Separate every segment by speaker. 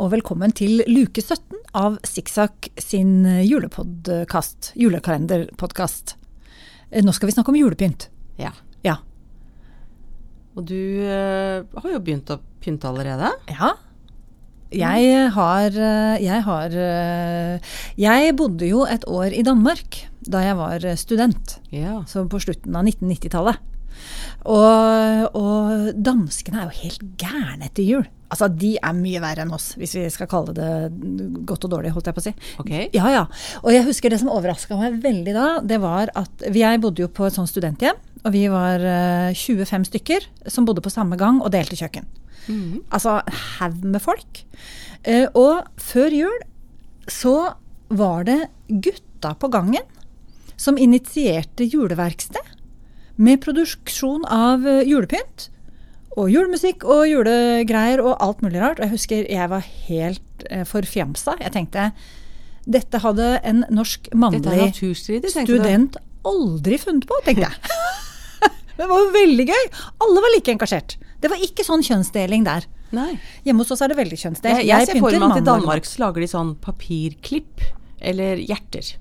Speaker 1: og velkommen til luke 17 av Sikksakk sin julepodkast, julekalenderpodkast. Eh, Nå skal vi snakke om julepynt.
Speaker 2: Ja.
Speaker 1: Ja.
Speaker 2: Og du eh, har jo begynt å pynte allerede.
Speaker 1: Ja. Jeg har eh, Jeg har eh, Jeg bodde jo et år i Danmark da jeg var eh, student.
Speaker 2: Ja.
Speaker 1: Så på slutten av 1990-tallet. Og, og danskene er jo helt gærne etter jul. Altså, de er mye verre enn oss, hvis vi skal kalle det godt og dårlig, holdt jeg på å si.
Speaker 2: Ok.
Speaker 1: Ja, ja. Og jeg husker det som overraska meg veldig da, det var at Jeg bodde jo på et sånt studenthjem, og vi var eh, 25 stykker som bodde på samme gang og delte kjøkken. Altså en haug med folk. Eh, og før jul så var det gutta på gangen som initierte juleverksted med produksjon av eh, julepynt. Og julemusikk og julegreier og alt mulig rart. Og jeg husker jeg var helt eh, forfjamsa. Jeg tenkte dette hadde en norsk
Speaker 2: Dette er
Speaker 1: mannlig
Speaker 2: naturstridig, tenkte du.
Speaker 1: student aldri funnet på, tenkte jeg. Men det var jo veldig gøy. Alle var like engasjert. Det var ikke sånn kjønnsdeling der.
Speaker 2: Nei.
Speaker 1: Hjemme hos oss er det veldig kjønnsdelt.
Speaker 2: Jeg, jeg ser for meg at i
Speaker 1: mandag.
Speaker 2: Danmark så lager de sånn papirklipp eller hjerter.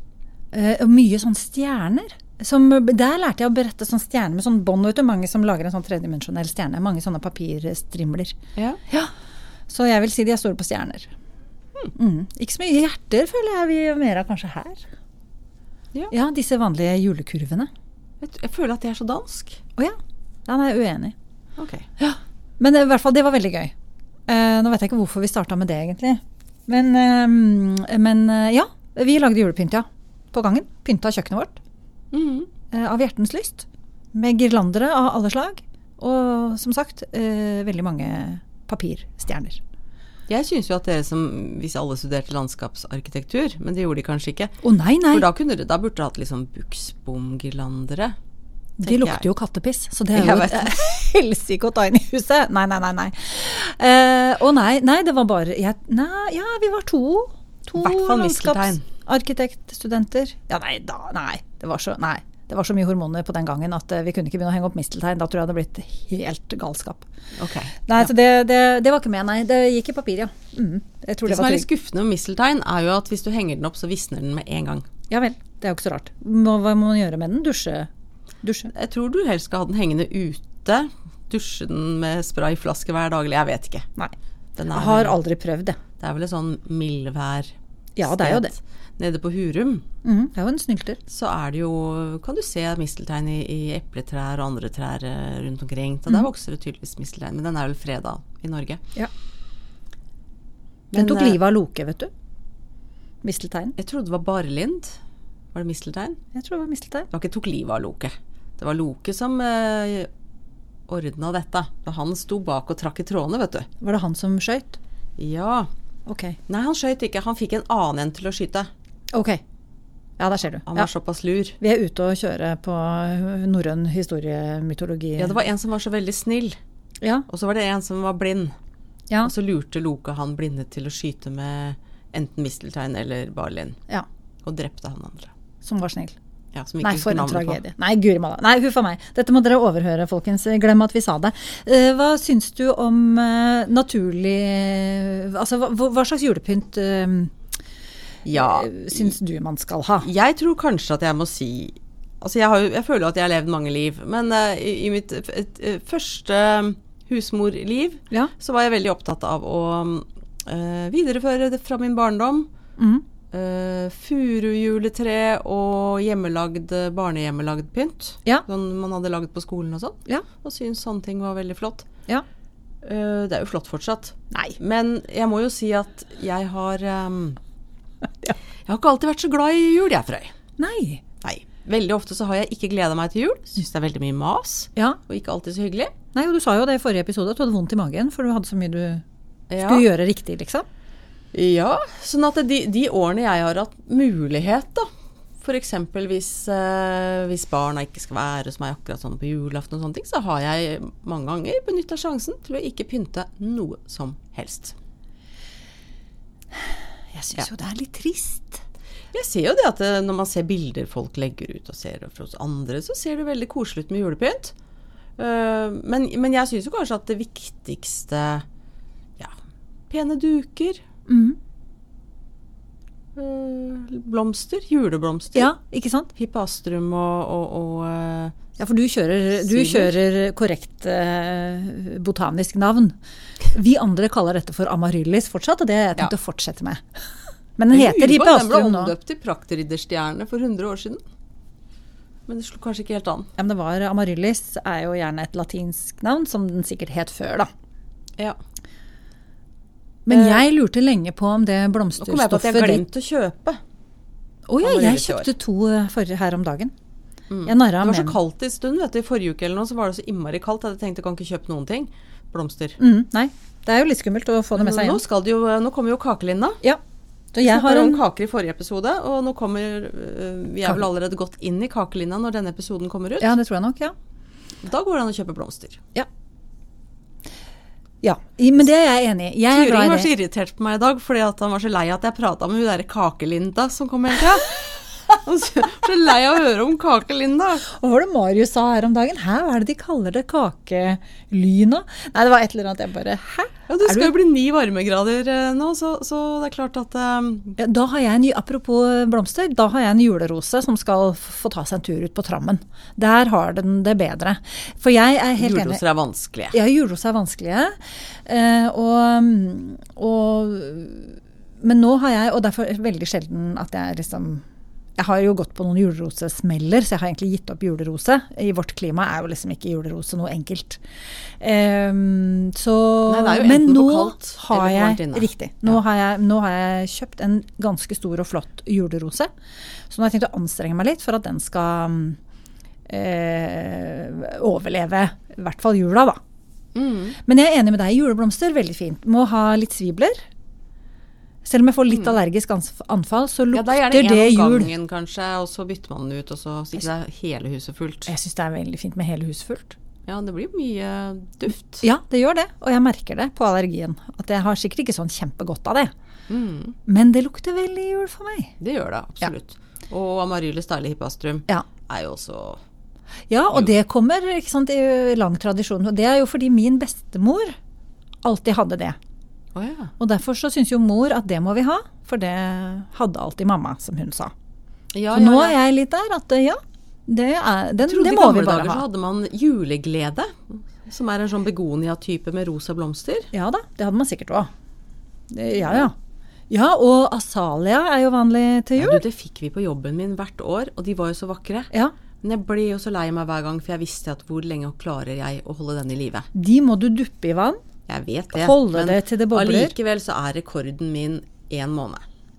Speaker 1: Eh, og mye sånn stjerner. Som, der lærte jeg å berette sånn stjerne med sånn bånd. vet du, Mange som lager en sånn tredimensjonell stjerne. Mange sånne papirstrimler.
Speaker 2: Ja.
Speaker 1: Ja, Så jeg vil si de er store på stjerner. Mm. Ikke så mye hjerter, føler jeg vi gjør mer av kanskje her.
Speaker 2: Ja.
Speaker 1: ja, disse vanlige julekurvene.
Speaker 2: Vet du, Jeg føler at det er så dansk.
Speaker 1: Å ja. ja. Nei, jeg er uenig.
Speaker 2: Ok.
Speaker 1: Men i hvert fall, det var veldig gøy. Eh, nå vet jeg ikke hvorfor vi starta med det, egentlig. Men, eh, men eh, ja, vi lagde julepynt, ja. På gangen. Pynta kjøkkenet vårt
Speaker 2: Mhm.
Speaker 1: eh, av hjertens lyst. Med girlandere av alle slag. Og som sagt, eh, veldig mange papirstjerner.
Speaker 2: Jeg syns jo at dere som Hvis alle studerte landskapsarkitektur, men det gjorde de kanskje ikke
Speaker 1: Å nei, nei!
Speaker 2: For da, kunne dere, da burde dere hatt liksom buksbomgirlandere.
Speaker 1: De
Speaker 2: tenker
Speaker 1: lukter
Speaker 2: jeg.
Speaker 1: jo kattepiss, så det er jo
Speaker 2: Jeg
Speaker 1: et helsike å ta inn i huset. Nei, nei, nei. nei. Eh, Å nei, nei, det var bare jeg, Nei, ja, vi var to. To
Speaker 2: Hvertfall misteltein.
Speaker 1: landskapsarkitektstudenter. Ja, nei da, nei. Det var så Nei. Det var så mye hormoner på den gangen at eh, vi kunne ikke begynne å henge opp misteltein. Da tror jeg det hadde blitt helt galskap.
Speaker 2: Ok.
Speaker 1: Nei, så det, det, det var ikke med, nei. Det gikk i papir, ja. Mm. Jeg tror
Speaker 2: Det
Speaker 1: det,
Speaker 2: som
Speaker 1: var
Speaker 2: er litt
Speaker 1: trygg.
Speaker 2: skuffende med misteltein, er jo at hvis du henger den opp, så visner den med en gang.
Speaker 1: Ja vel. Det er jo ikke så rart. Hva, hva må man gjøre med den? Dusje? Dusje?
Speaker 2: Jeg tror du helst skal ha den hengende ute. Dusje den med sprayflaske hver dag, eller jeg vet ikke.
Speaker 1: Nei.
Speaker 2: Den
Speaker 1: Jeg
Speaker 2: er,
Speaker 1: har aldri prøvd det.
Speaker 2: Det er vel et sånn mildvær
Speaker 1: Ja, det er jo det.
Speaker 2: Nede på Hurum
Speaker 1: Mhm, det er jo en snylter.
Speaker 2: så er det jo Kan du se misteltein i, i epletrær og andre trær eh, rundt omkring. Så der vokser det tydeligvis misteltein, men den er vel freda i Norge.
Speaker 1: Mm. Ja. Den
Speaker 2: Men,
Speaker 1: tok
Speaker 2: eh,
Speaker 1: livet av Loke, vet du. Mistelteinen.
Speaker 2: Jeg trodde det var barlind. Var det misteltein?
Speaker 1: Jeg tror det var misteltein.
Speaker 2: Det var ikke tok livet av Loke. Det var Loke som eh, ordna dette. Da han sto bak og trakk i trådene, vet du.
Speaker 1: Var det han som skøyt?
Speaker 2: Ja.
Speaker 1: Ok.
Speaker 2: Nei, han skøyt ikke. Han fikk en annen en til å skyte.
Speaker 1: Ok. Ja, der ser du.
Speaker 2: Han
Speaker 1: Ja.
Speaker 2: var såpass lur.
Speaker 1: Vi er ute og kjører på norrøn historiemytologi.
Speaker 2: Ja, det var en som var så veldig snill,
Speaker 1: ja,
Speaker 2: og så var det en som var blind.
Speaker 1: ja,
Speaker 2: Og så lurte Loke han blinde til å skyte med enten misteltein eller barlind,
Speaker 1: ja.
Speaker 2: og drepte han andre.
Speaker 1: Som var snill.
Speaker 2: Ja, som vi ikke
Speaker 1: Nei, for
Speaker 2: husker
Speaker 1: en
Speaker 2: navnet på.
Speaker 1: tragedie. Nei, guri malla. Nei, huff a meg. Dette må dere overhøre, folkens. Glem at vi sa det. Eh, Hva syns du om eh, naturlig Altså, hva, hva slags julepynt eh,
Speaker 2: Ja,
Speaker 1: syns du man skal ha?
Speaker 2: jeg tror kanskje at jeg må si Altså, jeg, har, jo- jeg føler jo at jeg har levd mange liv, men eh, i, i mitt f- et, eh, første husmorliv
Speaker 1: Ja.
Speaker 2: så var jeg veldig opptatt av å eh, videreføre det fra min barndom.
Speaker 1: Mhm.
Speaker 2: Eh, Furujuletre og hjemmelagd, eh, barnehjemmelagd pynt.
Speaker 1: Ja.
Speaker 2: Sånn man hadde lagd på skolen og sånn.
Speaker 1: Ja.
Speaker 2: Og syntes sånne ting var veldig flott.
Speaker 1: Ja.
Speaker 2: Eh, det er jo flott fortsatt.
Speaker 1: Nei.
Speaker 2: Men jeg må jo si at jeg har ehm, Jeg har ikke alltid vært så glad i jul, jeg, Frøy.
Speaker 1: Nei.
Speaker 2: Nei. Veldig ofte så har jeg ikke gleda meg til jul. Syns det er veldig mye mas.
Speaker 1: Ja.
Speaker 2: Og ikke alltid så hyggelig.
Speaker 1: Nei, og du sa jo det i forrige episode at du hadde vondt i magen, for du hadde så mye du
Speaker 2: Ja.
Speaker 1: skulle gjøre riktig, liksom.
Speaker 2: Ja, sånn at de, de årene jeg har hatt mulighet, da F.eks. Hvis, eh, hvis barna ikke skal være hos meg akkurat sånn på julaften, og sånne ting, så har jeg mange ganger benytta sjansen til å ikke pynte noe som helst.
Speaker 1: Jeg syns jo det er litt trist.
Speaker 2: Jeg ser jo det at eh, når man ser bilder folk legger ut og ser fra oss andre, så ser det veldig koselig ut med julepynt. Eh, Men, men jeg syns jo kanskje at det viktigste Ja, pene duker,
Speaker 1: Mm.
Speaker 2: Eh, Blomster. Juleblomster.
Speaker 1: Ja, ikke sant?
Speaker 2: Hippastrum og, og, og eh,
Speaker 1: Ja, for du kjører, du
Speaker 2: Sider.
Speaker 1: kjører korrekt eh, botanisk navn. Vi andre kaller dette for amaryllis fortsatt, og det har jeg tenkt
Speaker 2: Ja.
Speaker 1: å fortsette med. Men den heter
Speaker 2: Ulva,
Speaker 1: Hippastrum
Speaker 2: Den ble
Speaker 1: nå.
Speaker 2: omdøpt til Praktridderstjerne for 100 år siden. Men det slo kanskje ikke helt an.
Speaker 1: Ja, men det var Amaryllis er jo gjerne et latinsk navn, som den sikkert het før, da.
Speaker 2: Ja.
Speaker 1: Men
Speaker 2: Eh,
Speaker 1: jeg lurte lenge på om det
Speaker 2: Nå kom jeg på at jeg
Speaker 1: blomsterstoffet ditt
Speaker 2: glemte å kjøpe.
Speaker 1: Å ja, jeg
Speaker 2: amaryllis i år. Mm.
Speaker 1: kjøpte to eh, forrige her om dagen. Jeg narra
Speaker 2: Det var så
Speaker 1: med
Speaker 2: kaldt en stund. vet du, I forrige uke eller noe så var det så innmari kaldt at jeg tenkte jeg kan ikke kjøpe noen ting. Blomster.
Speaker 1: mm, Nei, det er jo litt skummelt å få det med seg
Speaker 2: nå,
Speaker 1: hjem.
Speaker 2: skal det jo, eh, nå kommer jo kakelinna.
Speaker 1: Ja. Så jeg
Speaker 2: Snakket
Speaker 1: har en
Speaker 2: om kaker i forrige episode, og nå kommer øh, Vi er vel allerede gått inn i kakelinna når denne episoden kommer ut.
Speaker 1: Ja, det tror jeg nok, ja.
Speaker 2: Da går det an å kjøpe blomster.
Speaker 1: Ja. ja. i- Men det er jeg enig i. Jeg er
Speaker 2: Turing
Speaker 1: glad i
Speaker 2: var så
Speaker 1: det.
Speaker 2: irritert på meg i dag fordi at han var så lei at jeg prata om hun derre Kake-Linda som kom hele tida. Han var så- så lei av å høre om Kake-Linda.
Speaker 1: Hva var det Marius sa her om dagen? Hæ, hva er det de kaller det? Kakelyna? Nei, det var et eller annet. Jeg bare Hæ?
Speaker 2: Ja, det
Speaker 1: Er
Speaker 2: skal jo bli ni varmegrader eh, nå, så, så det er klart at eh,
Speaker 1: Ja, Da har jeg en, ny- apropos eh, blomster, da har jeg en julerose som skal f- få ta seg en tur ut på trammen. Der har den det bedre. For jeg er helt enig.
Speaker 2: Juleroser er vanskelige.
Speaker 1: Ja, juleroser er vanskelige. eh, Og, og, men nå har jeg, og derfor er det veldig sjelden at jeg liksom jeg har jo gått på noen julerosesmeller, så jeg har egentlig gitt opp julerose. I vårt klima er jo liksom ikke julerose noe enkelt. Ehm, så
Speaker 2: Nei, det er jo
Speaker 1: Men
Speaker 2: enten
Speaker 1: nå
Speaker 2: for kaldt
Speaker 1: har
Speaker 2: eller for varmt
Speaker 1: jeg
Speaker 2: inne.
Speaker 1: Riktig. Nå, har jeg, nå har jeg kjøpt en ganske stor og flott julerose. Så nå har jeg tenkt å anstrenge meg litt for at den skal mm, eh, overleve i hvert fall jula, da.
Speaker 2: Mm.
Speaker 1: Men jeg er enig med deg. Juleblomster, veldig fint. Må ha litt svibler. Selv om jeg får litt allergisk ans- anfall, så
Speaker 2: Mm. Ja, det
Speaker 1: lukter
Speaker 2: er
Speaker 1: det,
Speaker 2: gjerne en om
Speaker 1: jul.
Speaker 2: gangen, kanskje, og så bytter man den ut, og så så ikke det er hele huset fullt.
Speaker 1: Jeg syns det er veldig fint med hele huset fullt.
Speaker 2: Ja, det blir mye duft.
Speaker 1: Ja, det gjør det. Og jeg merker det på allergien. At jeg har sikkert ikke sånn kjempegodt av det.
Speaker 2: Mm.
Speaker 1: Men det lukter veldig jul for meg.
Speaker 2: Det gjør det, absolutt. Og Amaryllis deilige hippastrum
Speaker 1: Ja.
Speaker 2: er jo også
Speaker 1: Ja,
Speaker 2: Mm.
Speaker 1: og det kommer ikke sant, i lang tradisjon. Og det er jo fordi min bestemor alltid hadde det.
Speaker 2: Å ja.
Speaker 1: Og derfor så syns jo mor at det må vi ha, for det hadde alltid mamma, som hun sa.
Speaker 2: Ja,
Speaker 1: Så nå er jeg litt der at eh, ja, det, er, den,
Speaker 2: trodde
Speaker 1: det
Speaker 2: i
Speaker 1: må
Speaker 2: gamle
Speaker 1: vi bare
Speaker 2: dager så
Speaker 1: ha.
Speaker 2: hadde man juleglede, som er en sånn begonia-type med rosa blomster.
Speaker 1: Ja da, det hadde man sikkert òg. Ja ja. Ja, og asalia er jo vanlig til
Speaker 2: Ja,
Speaker 1: jul.
Speaker 2: du, det fikk vi på jobben min hvert år, og de var jo så vakre.
Speaker 1: Ja,
Speaker 2: Men jeg ble jo så lei meg hver gang, for jeg visste at hvor lenge klarer jeg å holde den i live?
Speaker 1: De må du duppe i vann.
Speaker 2: Jeg vet det.
Speaker 1: Holde
Speaker 2: men
Speaker 1: det til det bobler.
Speaker 2: Allikevel så er rekorden min én måned.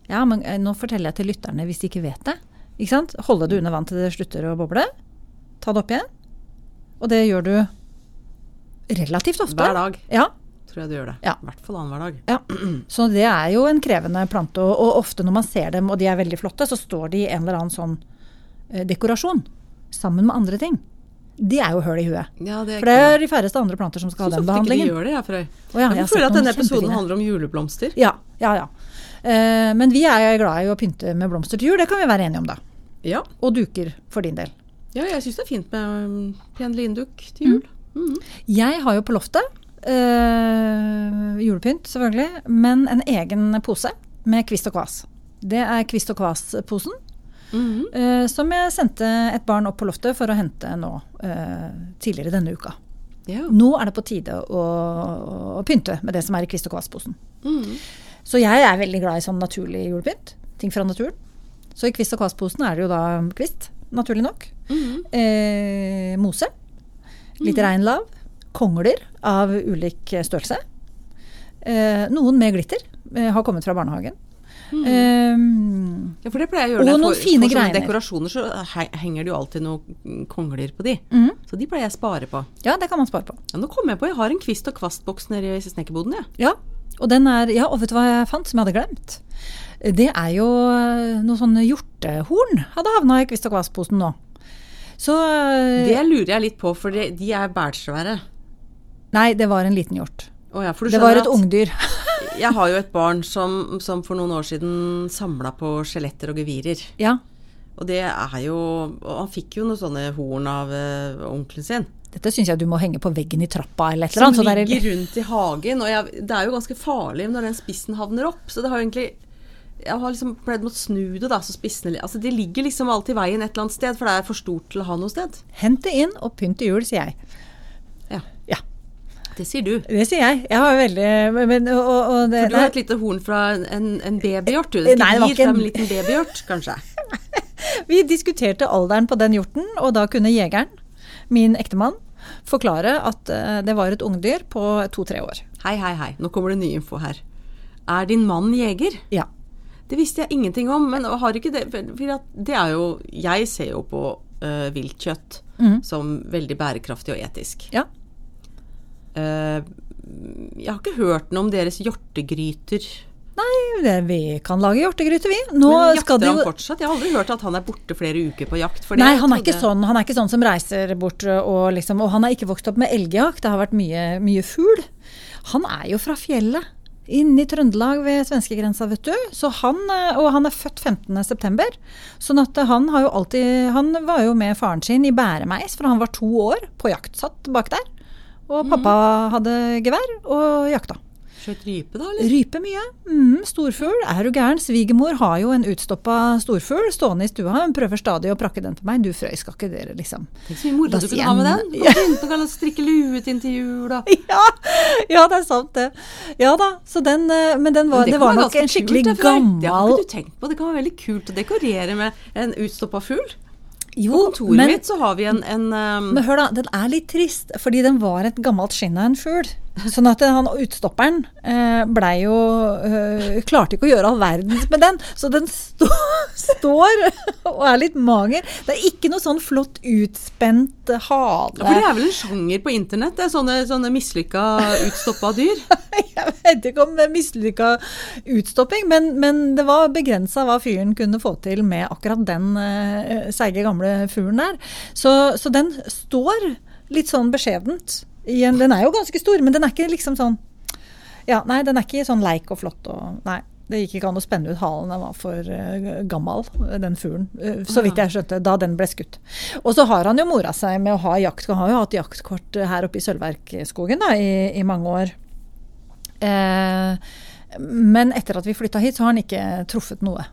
Speaker 1: Ja, men eh, nå forteller jeg til lytterne hvis de ikke vet det. Ikke sant? Holde det under vann til det slutter å boble. Ta det opp igjen. Og det gjør du relativt ofte.
Speaker 2: Hver dag.
Speaker 1: Ja.
Speaker 2: Tror jeg du gjør det.
Speaker 1: Ja.
Speaker 2: I hvert fall annenhver dag.
Speaker 1: ja. Så det er jo en krevende plante. Og, og ofte når man ser dem, og de er veldig flotte, så står de i en eller annen sånn eh, dekorasjon sammen med andre ting. De er jo høl i huet.
Speaker 2: Ja, det er
Speaker 1: For det er de færreste andre planter som skal ha
Speaker 2: Syns
Speaker 1: den
Speaker 2: ofte ikke
Speaker 1: behandlingen.
Speaker 2: de gjør det, jeg, Frøy.
Speaker 1: Å ja, jeg
Speaker 2: jeg
Speaker 1: har
Speaker 2: føler
Speaker 1: sett
Speaker 2: at
Speaker 1: noen
Speaker 2: denne episoden
Speaker 1: kjempefine.
Speaker 2: handler om juleblomster.
Speaker 1: Ja, ja, ja. Eh, men vi er glad i å pynte med blomster til jul, det kan vi være enige om, da.
Speaker 2: Ja,
Speaker 1: Og duker, for din del.
Speaker 2: ja jeg syns det er fint med um, pen linduk til jul. Mm.
Speaker 1: Jeg har jo på loftet øh, julepynt, selvfølgelig, men en egen pose med kvist og kvas. Det er kvist og kvas-posen,
Speaker 2: Mhm.
Speaker 1: øh, som jeg sendte et barn opp på loftet for å hente nå øh, tidligere denne uka.
Speaker 2: Ja.
Speaker 1: Nå er det på tide å, å pynte med det som er i kvist og kvas-posen.
Speaker 2: Mhm.
Speaker 1: Så jeg er veldig glad i sånn naturlig julepynt. Ting fra naturen. Så i kvist og kvast-posen er det jo da kvist, naturlig nok. Mm.
Speaker 2: Mhm.
Speaker 1: Eh, mose. Litt reinlav. Kongler av ulik størrelse. Eh, noen med glitter. Eh, har kommet fra barnehagen. Eh,
Speaker 2: ja, for det pleier jeg å gjøre.
Speaker 1: Og
Speaker 2: når
Speaker 1: noen
Speaker 2: jeg får-
Speaker 1: fine
Speaker 2: får sånne
Speaker 1: greiner.
Speaker 2: dekorasjoner, så he- henger det jo alltid noen kongler på de.
Speaker 1: Eh, mm.
Speaker 2: Så de pleier jeg å spare på.
Speaker 1: Ja, det kan man spare på.
Speaker 2: Ja, nå kom jeg på, jeg har en kvist og kvastboks nede i snekkerboden, jeg.
Speaker 1: Ja, og, den er, ja, og vet du hva jeg fant som jeg hadde glemt? Det er jo eh, noe sånn hjortehorn hadde havna i kvist og kvast-posen nå. Så eh,
Speaker 2: Det lurer jeg litt på, for de, de er bælsvære.
Speaker 1: Nei, det var en liten hjort.
Speaker 2: Å ja, for du
Speaker 1: Det var
Speaker 2: skjønner
Speaker 1: et ungdyr.
Speaker 2: at jeg har jo et barn som, som for noen år siden samla på skjeletter og gevirer.
Speaker 1: ja.
Speaker 2: Og det er jo og Han fikk jo noen sånne horn av eh, onkelen sin.
Speaker 1: Dette syns jeg du må henge på veggen i trappa eller et eller
Speaker 2: Som
Speaker 1: annet. så det er-
Speaker 2: ligger rundt i hagen. Og jeg, det er jo ganske farlig når den spissen havner opp. Så det har jo egentlig Jeg har liksom pleid å snu det, da, så spissene li- Altså de ligger liksom alltid i veien et eller annet sted, for det er for stort til å ha noe sted.
Speaker 1: Hent det inn og pynt til jul, sier jeg.
Speaker 2: Ja.
Speaker 1: Ja,
Speaker 2: Det sier du.
Speaker 1: det sier jeg. Jeg har veldig men, og, og det,
Speaker 2: For du har et lite horn fra en, en- en babyhjort, du.
Speaker 1: Eh, Nei, det var
Speaker 2: Gir
Speaker 1: ikke en-
Speaker 2: frem en liten babyhjort, kanskje.
Speaker 1: Vi diskuterte alderen på den hjorten, og da kunne jegeren, min ektemann, forklare at eh, det var et ungdyr på to-tre år.
Speaker 2: Hei, hei, hei. Nå kommer det ny info her. Er din mann jeger?
Speaker 1: Ja.
Speaker 2: Det visste jeg ingenting om, men har ikke det For for at det er jo Jeg ser jo på uh, viltkjøtt
Speaker 1: Mm.
Speaker 2: som veldig bærekraftig og etisk.
Speaker 1: ja.
Speaker 2: Eh, jeg har ikke hørt noe om deres hjortegryter.
Speaker 1: Nei, det, vi kan lage hjortegryte, vi. Nå
Speaker 2: Men
Speaker 1: skal
Speaker 2: jakter
Speaker 1: de
Speaker 2: han
Speaker 1: jo
Speaker 2: fortsatt? Jeg har aldri hørt at han er borte flere uker på jakt. for det
Speaker 1: Nei, han er,
Speaker 2: trodde-
Speaker 1: ikke sånn, han er ikke sånn som reiser bort eh, og liksom Og han er ikke vokst opp med elgjakt, det har vært mye, mye fugl. Han er jo fra fjellet. Inne i Trøndelag ved svenskegrensa, vet du. Så han, eh, og han er født 15.9. Sånn at eh, han har jo alltid Han var jo med faren sin i bæremeis fra han var to år, på jakt. Satt bak der. Og
Speaker 2: Mm.
Speaker 1: pappa hadde gevær og jakta.
Speaker 2: Skjøt rype, da? eller?
Speaker 1: Rype mye. Mm, storfugl. Er du gæren? Svigermor har jo en utstoppa storfugl stående i stua. Hun prøver stadig å prakke den på meg. Du frøy, skal ikke dere, liksom.
Speaker 2: Tenk så mye moro
Speaker 1: Da
Speaker 2: du
Speaker 1: sier
Speaker 2: kunne ha med
Speaker 1: han-
Speaker 2: den! Og begynte å kalle- strikke lue til jul, da.
Speaker 1: Ja, ja, det er sant, det. Ja da. Så den, eh, men den var,
Speaker 2: Men
Speaker 1: det,
Speaker 2: kan
Speaker 1: var
Speaker 2: være
Speaker 1: nok
Speaker 2: ganske
Speaker 1: en skikkelig
Speaker 2: kult, det, for Det det har
Speaker 1: gammel
Speaker 2: ikke du tenkt på. Det kan være veldig kult å dekorere med en utstoppa fugl. På
Speaker 1: Jo,
Speaker 2: kontoret
Speaker 1: men,
Speaker 2: mitt så har vi en, en eh,
Speaker 1: men hør da, den er litt trist, fordi den var et gammelt skinn av en fugl. Sånn at han utstopperen eh, blei jo eh, Klarte ikke å gjøre all verdens med den, så den stå, står og er litt mager. Det er ikke noe sånn flott utspent
Speaker 2: Ja,
Speaker 1: hale.
Speaker 2: For det er vel en sjanger på internett? Det er sånne, sånne mislykka, utstoppa dyr?
Speaker 1: Jeg vet ikke om det er mislykka utstopping, men, men det var begrensa hva fyren kunne få til med akkurat den eh, seige, gamle fuglen der. Så, så den står litt sånn beskjedent. i en- Den er jo ganske stor, men den er ikke liksom sånn Ja, nei, den er ikke sånn leik og flott og Nei. Det gikk ikke an å spenne ut halen, den var for eh, gammel, den fuglen. eh, så
Speaker 2: Ah.
Speaker 1: vidt jeg skjønte, da den ble skutt. Og så har han jo mora seg med å ha jakt. Han har jo hatt jaktkort eh, her oppe i Sølvverkskogen da, i, i mange år. Eh, men etter at vi flytta hit, så har han ikke truffet noe.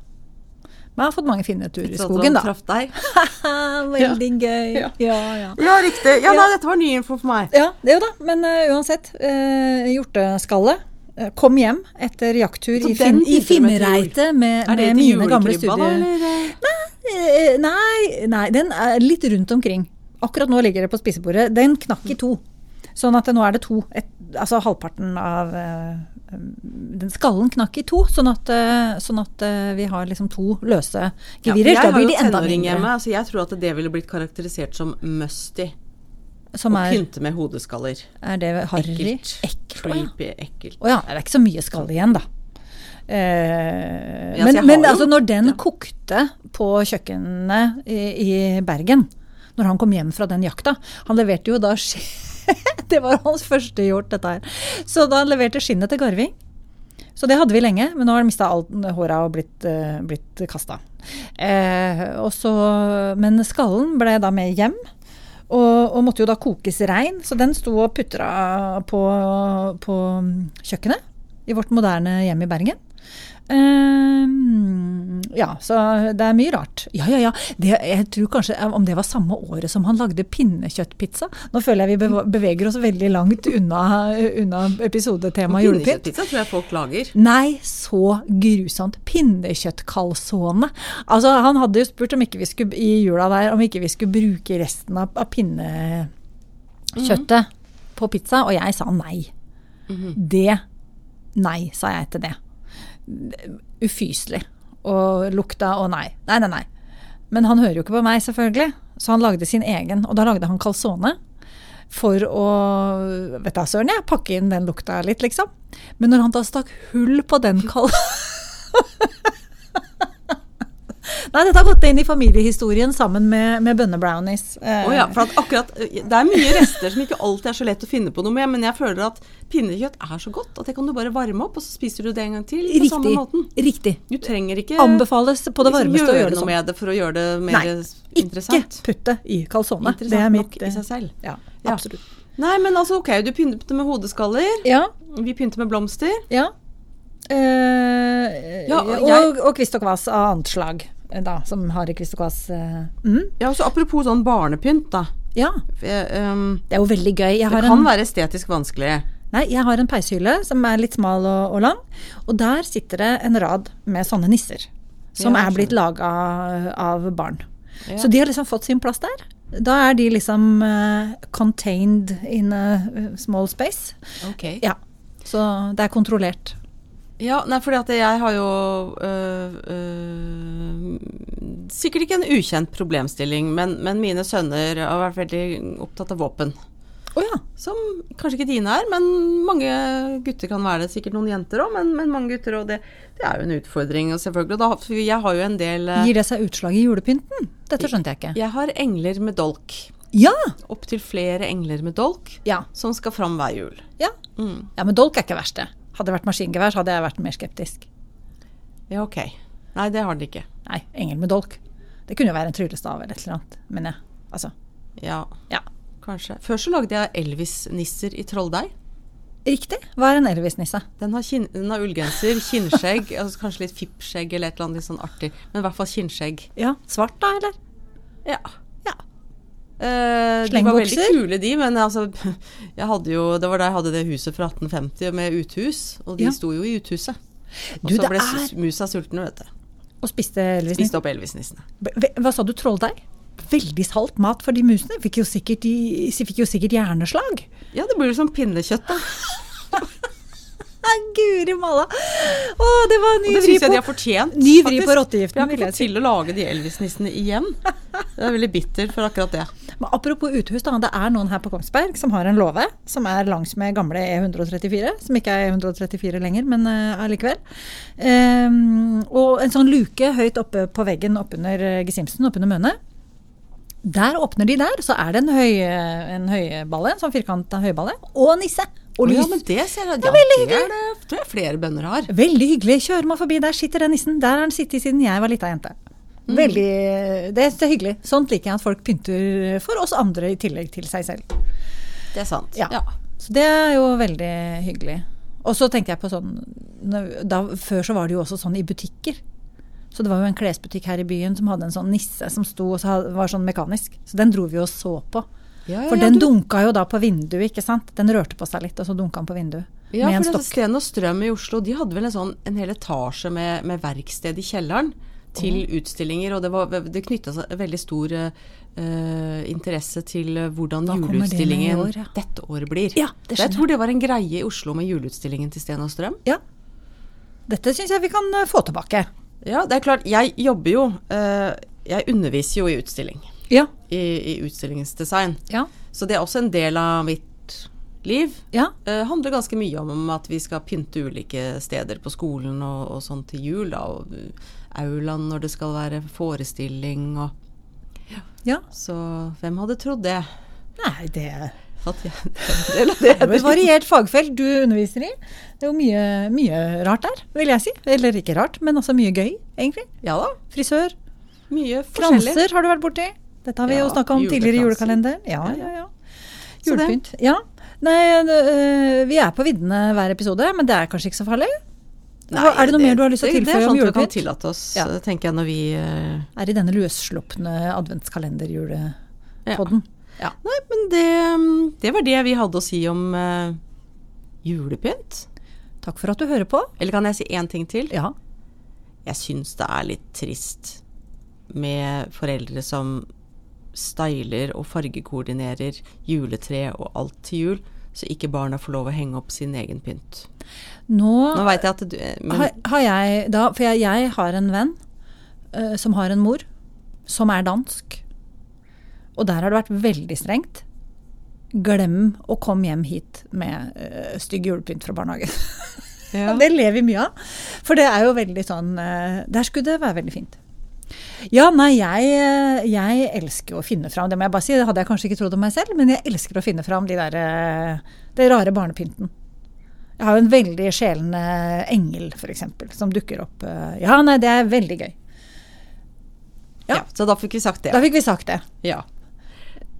Speaker 1: Men han har fått mange fine turer i
Speaker 2: Sånn at
Speaker 1: skogen,
Speaker 2: han
Speaker 1: da.
Speaker 2: Traff deg.
Speaker 1: Veldig gøy.
Speaker 2: Ja.
Speaker 1: Ja, ja.
Speaker 2: Ja, riktig. Ja,
Speaker 1: Ja.
Speaker 2: nei, dette var ny info for meg.
Speaker 1: ja det jo da. Men eh, uansett. Uh, hjorteskalle. eh, Kom hjem etter jakttur
Speaker 2: Så
Speaker 1: i, fin
Speaker 2: den
Speaker 1: i
Speaker 2: biter med til jul.
Speaker 1: Finnereitet med,
Speaker 2: Er det
Speaker 1: med
Speaker 2: til
Speaker 1: mine gamle
Speaker 2: julekrybba, da?
Speaker 1: studier.
Speaker 2: eller?
Speaker 1: Eh, Nei, nei, den er litt rundt omkring. Akkurat nå ligger det på spisebordet. Den knakk i to. Sånn at det, nå er det to. Et, altså halvparten av eh, Den skallen knakk i to, sånn at, eh, sånn at eh, vi har liksom to løse
Speaker 2: Ja,
Speaker 1: gevirer.
Speaker 2: jeg
Speaker 1: da
Speaker 2: har
Speaker 1: blir
Speaker 2: jo
Speaker 1: de enda
Speaker 2: tenåring
Speaker 1: mindre.
Speaker 2: hjemme, så jeg tror at det ville blitt karakterisert som musty.
Speaker 1: Som
Speaker 2: Å
Speaker 1: er,
Speaker 2: pynte med hodeskaller.
Speaker 1: er det harry?
Speaker 2: Ekkelt.
Speaker 1: Ekkelt. å ja.
Speaker 2: Creepy, ekkelt.
Speaker 1: Å ja, det er ikke så mye skall igjen, da. Eh,
Speaker 2: Ja, så
Speaker 1: men
Speaker 2: jeg
Speaker 1: men
Speaker 2: har jo-
Speaker 1: altså, når den kokte på kjøkkenet i, i Bergen, når han kom hjem fra den jakta Han leverte jo da skinn Det var hans første hjort, dette her. Så da han leverte skinnet til garving. Så det hadde vi lenge, men nå har han mista håra og blitt, uh, blitt kasta. Eh, og så- men skallen ble da med hjem, og, og måtte jo da kokes rein. Så den sto og putra på, på kjøkkenet i vårt moderne hjem i Bergen. Eh, ja, så det er mye rart. Ja, ja, ja. Det, jeg tror kanskje eh, om det var samme året som han lagde pinnekjøttpizza. Nå føler jeg vi beva- beveger oss veldig langt unna, unna episodetemaet julepynt.
Speaker 2: Pinnekjøttpizza tror jeg folk lager.
Speaker 1: Nei, så grusomt. Pinnekjøttkalsone. Altså, han hadde jo spurt om ikke vi skulle, i jula der om ikke vi skulle bruke resten av, av pinnekjøttet på pizza, og jeg sa nei. Det Nei, sa jeg til det. Ufyselig. Og lukta og nei. Nei, nei, nei. Men han hører jo ikke på meg, selvfølgelig. Så han lagde sin egen, og da lagde han calzone for å vet da, søren jeg, pakke inn den lukta litt, liksom. Men når han da stakk hull på den kal... Nei, dette har gått inn i familiehistorien sammen med, med bønnebrownies. Eh,
Speaker 2: Å ja, for at akkurat, eh, det er mye rester som ikke alltid er så lett å finne på noe med, men jeg føler at pinnekjøtt er så godt at det kan du bare varme opp, og så spiser du det en gang til på samme
Speaker 1: Riktig.
Speaker 2: måten.
Speaker 1: Riktig.
Speaker 2: Du trenger ikke
Speaker 1: Anbefales på det varmeste
Speaker 2: liksom,
Speaker 1: å gjøre det
Speaker 2: noe
Speaker 1: sånn.
Speaker 2: med det for å gjøre det mer
Speaker 1: Nei, ikke
Speaker 2: interessant.
Speaker 1: putte i calzone.
Speaker 2: Interessant
Speaker 1: Det er
Speaker 2: nok
Speaker 1: mitt eh,
Speaker 2: i seg selv.
Speaker 1: Ja,
Speaker 2: Ja.
Speaker 1: absolutt.
Speaker 2: Nei, men altså ok, du pynter med hodeskaller,
Speaker 1: Ja,
Speaker 2: vi pynter med blomster.
Speaker 1: ja. Eh,
Speaker 2: Ja, og
Speaker 1: og,
Speaker 2: jeg-
Speaker 1: og kvist og kvass av annet slag, eh, da, som har i kvist og kvass eh, mm,
Speaker 2: Ja, og så apropos sånn barnepynt, da.
Speaker 1: Ja,
Speaker 2: Eh, ehm,
Speaker 1: det er jo veldig gøy. Jeg
Speaker 2: det
Speaker 1: har
Speaker 2: kan
Speaker 1: en,
Speaker 2: være estetisk vanskelig.
Speaker 1: nei, jeg har en peishylle som er litt smal og, og lang, og der sitter det en rad med sånne nisser. Som
Speaker 2: Ja,
Speaker 1: er blitt laga av barn. Så de har liksom fått sin plass der. Da er de liksom eh, contained in a eh, small space.
Speaker 2: Ok.
Speaker 1: Ja. Så det er kontrollert.
Speaker 2: Ja, nei, fordi at jeg har jo øh, øh, Sikkert ikke en ukjent problemstilling, men, men mine sønner har vært veldig opptatt av våpen.
Speaker 1: Å ja.
Speaker 2: Som kanskje ikke dine er, men mange gutter kan være det. Sikkert noen jenter òg, men, men mange gutter òg. Det, det er jo en utfordring, og selvfølgelig. og Da, for jeg har jo en del eh,
Speaker 1: Gir det seg utslag i julepynten? Dette skjønte jeg ikke.
Speaker 2: Jeg har engler med dolk.
Speaker 1: Ja!
Speaker 2: Opptil flere engler med dolk
Speaker 1: Ja.
Speaker 2: som skal fram hver jul.
Speaker 1: ja.
Speaker 2: Mm.
Speaker 1: ja men dolk er ikke verst, det. Hadde det vært maskingevær, så hadde jeg vært mer skeptisk.
Speaker 2: Ja, ok. Nei, det har de ikke.
Speaker 1: Nei, engel med dolk. Det kunne jo være en tryllestav eller et eller annet. Men jeg, altså.
Speaker 2: Ja,
Speaker 1: Ja.
Speaker 2: kanskje. Før så lagde jeg Elvis-nisser i Trolldeig.
Speaker 1: Riktig. Hva er en Elvis-nisse?
Speaker 2: Den har, kinn, den har ullgenser, kinnskjegg, altså kanskje litt fippskjegg eller et eller annet litt sånn artig. Men i hvert fall kinnskjegg.
Speaker 1: Ja, svart da, eller?
Speaker 2: Ja. Eh, de var veldig
Speaker 1: Slengbukser?
Speaker 2: kule, de, men altså, jeg hadde jo, det var da jeg hadde det huset fra 1850 med uthus, og de
Speaker 1: Ja.
Speaker 2: sto jo i uthuset. Og
Speaker 1: Du,
Speaker 2: så
Speaker 1: det
Speaker 2: ble
Speaker 1: er
Speaker 2: s- musa sultne, vet du.
Speaker 1: Og spiste
Speaker 2: Spiste
Speaker 1: Elvis-nisse.
Speaker 2: opp Elvis-nissene.
Speaker 1: Ve- Hva sa du, trolldeig? Veldig salt mat for de musene. Fikk jo sikkert, de, fikk jo sikkert hjerneslag.
Speaker 2: Ja, det blir jo som pinnekjøtt, da.
Speaker 1: Nei, guri malla. Å, det var en ny
Speaker 2: Det
Speaker 1: vri
Speaker 2: syns jeg
Speaker 1: på-
Speaker 2: de har fortjent.
Speaker 1: Ny vri
Speaker 2: faktisk.
Speaker 1: på rottegiften,
Speaker 2: For Jeg har
Speaker 1: vil jeg
Speaker 2: ikke fått til å lage de Elvis-nissene igjen. Jeg er veldig bitter for akkurat det.
Speaker 1: Men apropos uthus, da, det er noen her på Kongsberg som har en låve som er langs med gamle E134, som ikke er E134 lenger, men eh, allikevel. Ehm, og en sånn luke høyt oppe på veggen oppunder eh, gesimsen, oppunder mønet. Der åpner de der, så er det en, høy, eh, en høyballe, en sånn firkanta høyballe, og nisse. Og
Speaker 2: Å
Speaker 1: lys.
Speaker 2: ja, men det ser jeg.
Speaker 1: Det
Speaker 2: Ja,
Speaker 1: er veldig
Speaker 2: det er det tror jeg flere bønder har.
Speaker 1: Veldig hyggelig. Kjører man forbi, der sitter den nissen. Der har den sittet siden jeg var lita jente. Veldig,
Speaker 2: Mm.
Speaker 1: eh, det er hyggelig. Sånt liker jeg at folk pynter for oss andre i tillegg til seg selv.
Speaker 2: Det er sant.
Speaker 1: Ja.
Speaker 2: Ja.
Speaker 1: Så det er jo veldig hyggelig. Og så tenkte jeg på sånn når- da, Før så var det jo også sånn i butikker. Så det var jo en klesbutikk her i byen som hadde en sånn nisse som sto og så ha- var sånn mekanisk. Så den dro vi og så på.
Speaker 2: Ja, ja,
Speaker 1: For
Speaker 2: ja,
Speaker 1: den
Speaker 2: du-
Speaker 1: dunka jo da på vinduet, ikke sant. Den rørte på seg litt, og så dunka den på vinduet.
Speaker 2: Ja,
Speaker 1: med en
Speaker 2: for altså,
Speaker 1: stokk.
Speaker 2: Sten og Strøm i Oslo de hadde vel en, sånn, en hel etasje med, med verksted i kjelleren til utstillinger, og det, var- det knytta seg veldig stor eh, interesse til eh, hvordan
Speaker 1: kommer det med i
Speaker 2: juleutstillingen
Speaker 1: år, ja.
Speaker 2: dette året blir.
Speaker 1: Ja, det
Speaker 2: Så jeg
Speaker 1: skjønner
Speaker 2: tror det var en greie i Oslo med juleutstillingen til Sten og Strøm.
Speaker 1: Ja. Dette syns jeg vi kan eh, få tilbake.
Speaker 2: Ja, det er klart, jeg jobber jo eh, Jeg underviser jo i utstilling.
Speaker 1: Ja.
Speaker 2: I, i utstillingsdesign.
Speaker 1: Ja.
Speaker 2: Så det er også en del av mitt liv.
Speaker 1: Ja.
Speaker 2: Eh, handler ganske mye om at vi skal pynte ulike steder på skolen og, og sånn til jul. Da, og uh, aulaen når det skal være forestilling og
Speaker 1: ja.
Speaker 2: Så hvem hadde trodd det?
Speaker 1: Nei, det er
Speaker 2: At jeg, eller det,
Speaker 1: Det er jo et variert fagfelt du underviser i. Det er jo mye, mye rart der, vil jeg si. Eller ikke rart, men altså mye gøy, egentlig.
Speaker 2: ja da.
Speaker 1: Frisør.
Speaker 2: Mye forskjellig.
Speaker 1: Kranser har du vært borti. Dette har vi
Speaker 2: Ja,
Speaker 1: jo snakka om tidligere i
Speaker 2: julekranser.
Speaker 1: julekalenderen. Ja, ja, ja.
Speaker 2: Så det-
Speaker 1: Julepynt. Ja. Nei, det, øh, vi er på viddene hver episode, men det er kanskje ikke så farlig? Hva- er det noe mer du har lyst til å
Speaker 2: det-
Speaker 1: tilføye om
Speaker 2: Det er sånt vi kan
Speaker 1: julepynt?
Speaker 2: tillate oss,
Speaker 1: Ja.
Speaker 2: eh, tenker jeg, når vi eh,
Speaker 1: Er i denne løsslupne adventskalenderjulepodden. Ja.
Speaker 2: Nei, men det, det var det vi hadde å si om eh, julepynt.
Speaker 1: Takk for at du hører på.
Speaker 2: Eller kan jeg si én ting til?
Speaker 1: Ja.
Speaker 2: Jeg syns det er litt trist med foreldre som styler og fargekoordinerer juletre og alt til jul, så ikke barna får lov å henge opp sin egen pynt.
Speaker 1: Nå
Speaker 2: Nå veit jeg at du eh, men,
Speaker 1: har, har jeg da For jeg, jeg har en venn eh, som har en mor som er dansk. Og der har det vært veldig strengt. Glem å komme hjem hit med eh, stygg julepynt fra barnehagen.
Speaker 2: ja.
Speaker 1: Det ler vi mye av. For det er jo veldig sånn eh, Der skulle det være veldig fint. Ja, nei, jeg, eh, jeg elsker å finne fram. Det må jeg bare si. Det hadde jeg kanskje ikke trodd om meg selv, men jeg elsker å finne fram de der, eh, det rare barnepynten. Jeg har jo en veldig sjelende engel, f.eks., som dukker opp. eh, Ja, nei, det er veldig gøy. Ja.
Speaker 2: Ja, så da fikk vi sagt det.
Speaker 1: Da fikk vi sagt det.
Speaker 2: Ja.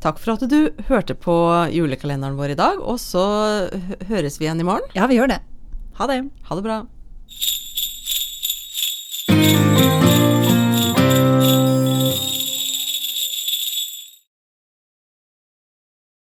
Speaker 2: Takk for at du hørte på julekalenderen vår i dag, og så hø- høres vi igjen i morgen.
Speaker 1: Ja, vi gjør det.
Speaker 2: Ha det. Ha det bra.